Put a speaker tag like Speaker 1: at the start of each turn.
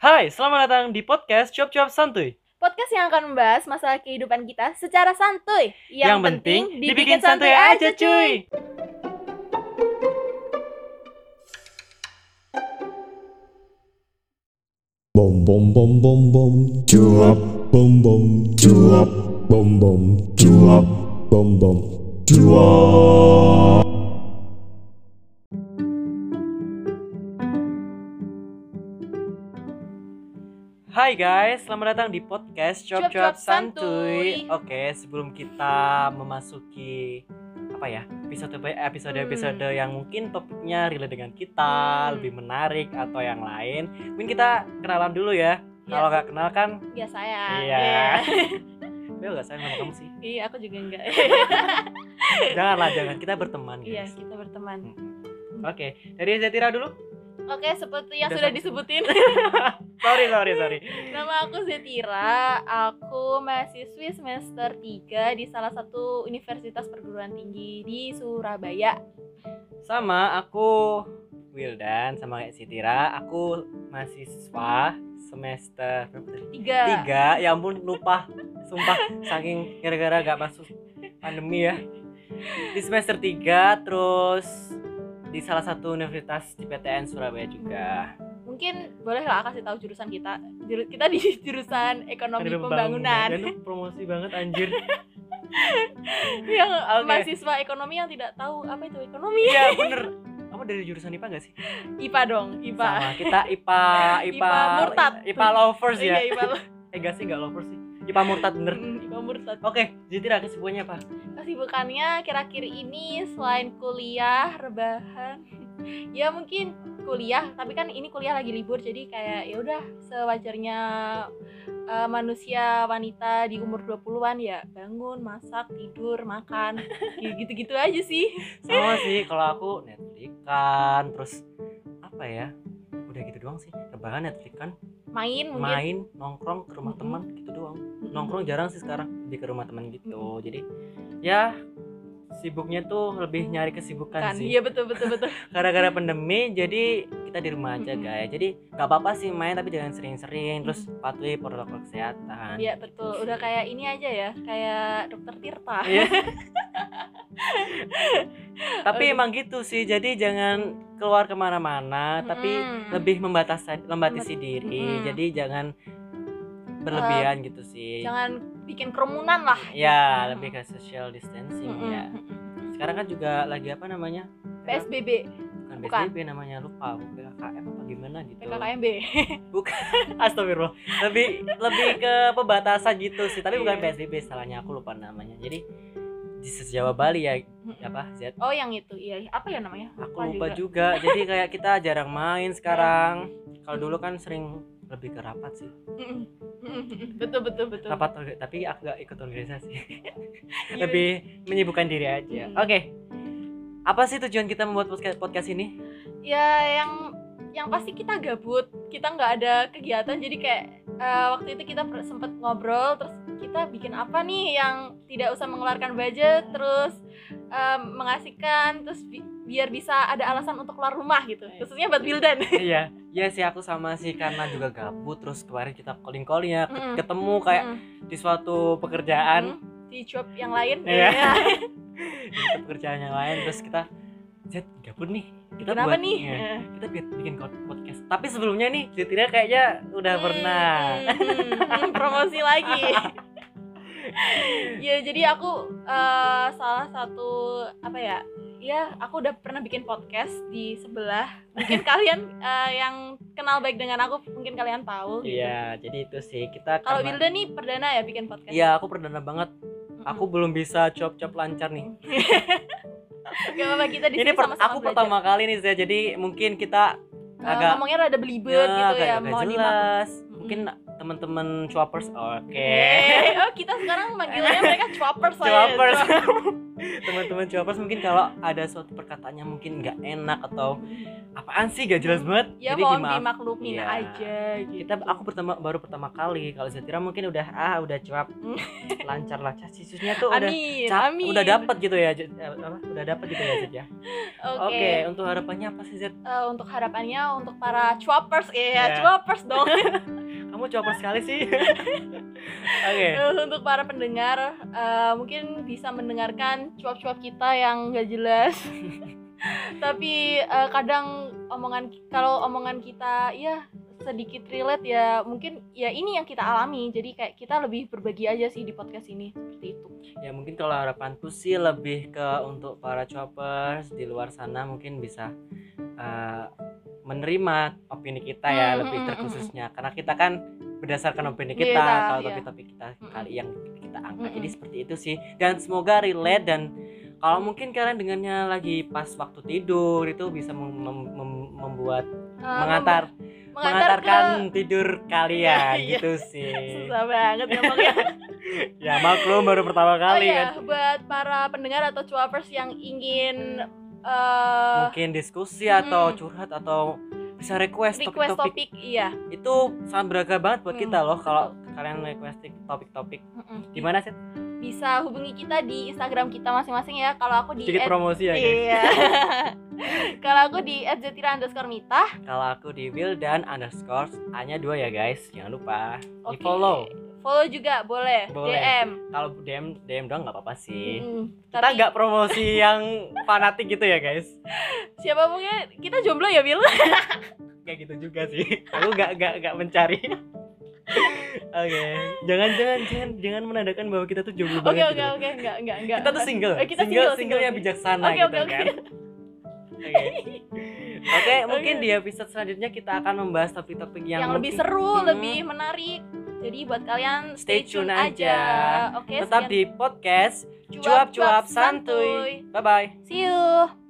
Speaker 1: Hai, selamat datang di podcast Cuap-Cuap Santuy.
Speaker 2: Podcast yang akan membahas masalah kehidupan kita secara santuy.
Speaker 3: Bom bom bom bom bom cuap bom bom cuap bom bom cuap bom bom cuap
Speaker 1: Hai guys, selamat datang di podcast Cuap-Cuap
Speaker 2: Cuap-Cuap
Speaker 1: Santuy.
Speaker 2: Santuy.
Speaker 1: Oke, sebelum kita memasuki apa ya episode episode episode
Speaker 2: Hmm.
Speaker 1: yang mungkin topiknya relate dengan kita
Speaker 2: Hmm.
Speaker 1: lebih menarik atau yang lain mungkin kita kenalan dulu ya
Speaker 2: Iya.
Speaker 1: kalau nggak kenal kan
Speaker 2: ya saya.
Speaker 1: Iya.
Speaker 2: Iya.
Speaker 1: gue nggak sayang sama kamu sih
Speaker 2: Iya, aku juga enggak.
Speaker 1: janganlah jangan kita berteman
Speaker 2: Iya,
Speaker 1: guys
Speaker 2: kita berteman.
Speaker 1: Mm-mm. oke dari Zetira dulu
Speaker 2: Oke, seperti yang
Speaker 1: Udah
Speaker 2: sudah
Speaker 1: sama.
Speaker 2: disebutin,
Speaker 1: sorry sorry sorry
Speaker 2: nama aku Zetira. Aku mahasiswi semester 3 di salah satu universitas perguruan tinggi di Surabaya.
Speaker 1: sama aku Wildan sama kayak Sitira aku mahasiswa semester berapa
Speaker 2: Iya.
Speaker 1: tadi?
Speaker 2: 3.
Speaker 1: tiga ya ampun lupa sumpah saking gara-gara gak masuk pandemi ya di semester 3 terus di salah satu universitas di PTN Surabaya juga
Speaker 2: Mungkin boleh lah kasih tahu jurusan kita. Juru- kita di jurusan ekonomi
Speaker 1: Ada
Speaker 2: pembangunan.
Speaker 1: Dan lu promosi banget anjir
Speaker 2: yang
Speaker 1: Oke.
Speaker 2: mahasiswa ekonomi yang tidak tahu apa itu ekonomi
Speaker 1: iya bener kamu dari jurusan IPA gak sih?
Speaker 2: IPA dong IPA
Speaker 1: Sama kita IPA IPA
Speaker 2: IPA murtad.
Speaker 1: IPA lovers
Speaker 2: iya
Speaker 1: ya
Speaker 2: IPA loh.
Speaker 1: Eh gak sih gak lovers sih IPA murtad bener
Speaker 2: Mm, IPA murtad
Speaker 1: Oke, Zitira kesibukannya apa?
Speaker 2: kesibukannya kira-kira ini selain kuliah rebahan ya mungkin kuliah tapi kan ini kuliah lagi libur jadi kayak ya udah sewajarnya eh, manusia wanita di umur 20-an ya bangun masak tidur makan Ya, gitu-gitu aja sih
Speaker 1: Sama sih kalau aku Netflixan terus apa ya? Udah gitu doang sih. Rebahan Netflixan,
Speaker 2: main mungkin
Speaker 1: main, nongkrong ke rumah
Speaker 2: Mhm.
Speaker 1: teman gitu doang.
Speaker 2: gitu. Mm-mm.
Speaker 1: Nongkrong jarang sih sekarang, lebih ke rumah teman gitu. Jadi ya sibuknya tuh lebih nyari kesibukan
Speaker 2: kan
Speaker 1: sih.
Speaker 2: iya betul betul betul
Speaker 1: Gara-gara pandemi jadi kita di rumah aja
Speaker 2: Mm-mm.
Speaker 1: guys. Jadi nggak apa-apa sih main tapi jangan sering-sering terus patuhi protokol kesehatan.
Speaker 2: Iya betul, udah kayak ini aja ya, kayak dokter Tirta.
Speaker 1: Iya. tapi
Speaker 2: Oke.
Speaker 1: emang gitu sih. Jadi jangan keluar kemana-mana Iya, tapi
Speaker 2: Mm.
Speaker 1: lebih membatasi membatasi diri
Speaker 2: Mm.
Speaker 1: jadi jangan berlebihan gitu sih
Speaker 2: Eh, jangan bikin kerumunan lah.
Speaker 1: ya
Speaker 2: Mm.
Speaker 1: lebih ke social distancing
Speaker 2: Mm-mm.
Speaker 1: ya sekarang kan juga lagi apa namanya
Speaker 2: PSBB,
Speaker 1: bukan
Speaker 2: Bukan.
Speaker 1: PSBB namanya lupa aku PKKM apa gimana gitu
Speaker 2: PKKMB.
Speaker 1: astagfirullah lebih lebih ke pembatasan gitu sih tapi bukan
Speaker 2: Iya.
Speaker 1: PSBB salahnya aku lupa namanya jadi di Jawa Bali ya apa Z
Speaker 2: Oh yang itu, iya. Apa ya namanya?
Speaker 1: aku lupa juga jadi kayak kita jarang main
Speaker 2: Iya.
Speaker 1: sekarang kalau dulu kan sering lebih ke rapat sih
Speaker 2: Mm-mm. Mm-mm. betul betul betul.
Speaker 1: rapat orga- tapi aku gak ikut organisasi
Speaker 2: Iya.
Speaker 1: lebih menyibukkan diri aja
Speaker 2: Mm.
Speaker 1: oke apa sih tujuan kita membuat podcast podcast ini
Speaker 2: Ya yang yang pasti kita gabut, kita nggak ada kegiatan, jadi kayak eh, waktu itu kita per- sempet ngobrol, terus kita bikin apa nih yang tidak usah mengeluarkan budget, terus eh, mengasihkan, terus bi- biar bisa ada alasan untuk keluar rumah gitu, khususnya buat Wildan.
Speaker 1: iya iya sih aku sama sih karena juga gabut terus kemarin kita calling calling ya ke-
Speaker 2: Mm-mm.
Speaker 1: ketemu kayak
Speaker 2: Mm-mm.
Speaker 1: di suatu pekerjaan
Speaker 2: Hmm, di job yang lain
Speaker 1: Iya.
Speaker 2: ya.
Speaker 1: di suatu pekerjaan yang lain terus kita Zed gabut nih kita
Speaker 2: kenapa
Speaker 1: buat
Speaker 2: nih
Speaker 1: iya, kita bikin, bikin pod- podcast tapi sebelumnya nih Zetina kayaknya udah
Speaker 2: Hmm,
Speaker 1: pernah
Speaker 2: hmm, hmm, promosi lagi ya jadi aku eh, salah satu apa ya ya aku udah pernah bikin podcast di sebelah mungkin kalian eh, yang kenal baik dengan aku mungkin kalian tahu gitu.
Speaker 1: iya jadi itu sih kita
Speaker 2: kalau
Speaker 1: karena-
Speaker 2: Wilda nih perdana ya bikin podcast Hmm.
Speaker 1: iya aku perdana banget
Speaker 2: Mm-mm.
Speaker 1: aku belum bisa cop-cop lancar nih
Speaker 2: Gak apa-apa, kita di
Speaker 1: ini
Speaker 2: sini
Speaker 1: per-
Speaker 2: sama-sama
Speaker 1: aku
Speaker 2: belajar.
Speaker 1: pertama kali nih saya jadi mungkin kita
Speaker 2: Eh,
Speaker 1: agak
Speaker 2: ngomongnya rada belibet
Speaker 1: ya,
Speaker 2: gitu
Speaker 1: agak-
Speaker 2: ya Hmm.
Speaker 1: agak
Speaker 2: mau dimaklumi
Speaker 1: jelas mungkin teman-teman cuapers oke
Speaker 2: Eh, oh kita sekarang manggilnya mereka ya. chopper saya.
Speaker 1: Cuapers. teman-teman cuapers mungkin kalau ada suatu perkataan yang mungkin nggak enak atau apaan sih gak jelas banget
Speaker 2: Ya
Speaker 1: jadi
Speaker 2: mohon
Speaker 1: dimaaf
Speaker 2: dimaklumin
Speaker 1: Iya.
Speaker 2: aja gitu.
Speaker 1: kita aku pertama baru pertama kali kalau Zetira mungkin udah ah udah cuap
Speaker 2: Hmm.
Speaker 1: lancar lah sisusnya tuh udah
Speaker 2: amin,
Speaker 1: cap-
Speaker 2: Iya, amin.
Speaker 1: udah dapat gitu ya Zet- eh, apa, udah dapat gitu ya Zet ya
Speaker 2: Oke.
Speaker 1: oke untuk harapannya apa sih Zet
Speaker 2: Eh, untuk harapannya untuk para chopers ya,
Speaker 1: Iya.
Speaker 2: chopers dong.
Speaker 1: kamu coper sekali sih oke
Speaker 2: Terus untuk para pendengar eh, mungkin bisa mendengarkan cuap-cuap kita yang gak jelas. Tapi eh, kadang omongan kalau omongan kita ya sedikit relate ya mungkin ya ini yang kita alami. Jadi kayak kita lebih berbagi aja sih di podcast ini seperti itu.
Speaker 1: ya mungkin kalau harapanku sih lebih ke untuk para choppers di luar sana mungkin bisa eh, menerima opini kita ya
Speaker 2: Hmm,
Speaker 1: lebih
Speaker 2: hmm,
Speaker 1: terkhususnya karena kita kan berdasarkan opini kita
Speaker 2: Kita,
Speaker 1: kalau
Speaker 2: iya.
Speaker 1: topik-topik kita
Speaker 2: Hmm,
Speaker 1: kali yang kita angkat
Speaker 2: Hmm,
Speaker 1: jadi
Speaker 2: hmm.
Speaker 1: seperti itu sih dan semoga relate dan kalau mungkin kalian dengannya lagi pas waktu tidur itu bisa mem- mem- mem- membuat
Speaker 2: Eh,
Speaker 1: mengantar
Speaker 2: mem-
Speaker 1: mengantarkan
Speaker 2: ke-
Speaker 1: tidur kalian
Speaker 2: Iya.
Speaker 1: gitu sih
Speaker 2: susah banget ngomongnya.
Speaker 1: ya maklum baru pertama
Speaker 2: Oh
Speaker 1: kali kan
Speaker 2: iya, buat para pendengar atau cuapers yang ingin eh,
Speaker 1: mungkin diskusi atau
Speaker 2: Mm-mm.
Speaker 1: curhat atau bisa request
Speaker 2: request
Speaker 1: topik-topik
Speaker 2: topik, iya.
Speaker 1: itu sangat beragam banget buat
Speaker 2: Mm,
Speaker 1: kita loh kalau kalian request topik-topik
Speaker 2: Mm-mm.
Speaker 1: gimana sih
Speaker 2: bisa hubungi kita di Instagram kita masing-masing ya. Kalau aku di
Speaker 1: sedikit
Speaker 2: at-
Speaker 1: promosi ya guys
Speaker 2: Iya. Kalau aku di @zetira underscore mita.
Speaker 1: kalau aku di will dan underscore a nya dua ya guys jangan lupa di
Speaker 2: Oke.
Speaker 1: follow
Speaker 2: Follow juga boleh.
Speaker 1: Boleh.
Speaker 2: DM.
Speaker 1: kalau dm dm doang nggak apa-apa sih
Speaker 2: Mm,
Speaker 1: kita
Speaker 2: Tapi
Speaker 1: nggak promosi yang fanatik gitu ya guys
Speaker 2: siapa mungkin kita jomblo ya Bil.
Speaker 1: kayak gitu juga
Speaker 2: Hmm.
Speaker 1: sih aku nggak nggak nggak mencari oke jangan jangan jangan jangan menandakan bahwa kita tuh jomblo
Speaker 2: Oke
Speaker 1: banget
Speaker 2: oke
Speaker 1: gitu loh.
Speaker 2: oke enggak enggak enggak.
Speaker 1: kita tuh single
Speaker 2: Eh, kita
Speaker 1: single
Speaker 2: single,
Speaker 1: single yang
Speaker 2: single.
Speaker 1: bijaksana
Speaker 2: Oke,
Speaker 1: gitu
Speaker 2: oke, oke.
Speaker 1: kan oke oke mungkin
Speaker 2: Oke.
Speaker 1: di episode selanjutnya kita akan membahas topik-topik
Speaker 2: yang,
Speaker 1: yang,
Speaker 2: lebih seru,
Speaker 1: Hmm.
Speaker 2: lebih menarik. Jadi buat kalian
Speaker 1: Stay
Speaker 2: stay,
Speaker 1: tune
Speaker 2: tune
Speaker 1: aja.
Speaker 2: aja. Oke,
Speaker 1: tetap
Speaker 2: sekian.
Speaker 1: di podcast
Speaker 2: Cuap-cuap
Speaker 1: cuap-cuap santuy bye bye
Speaker 2: See you.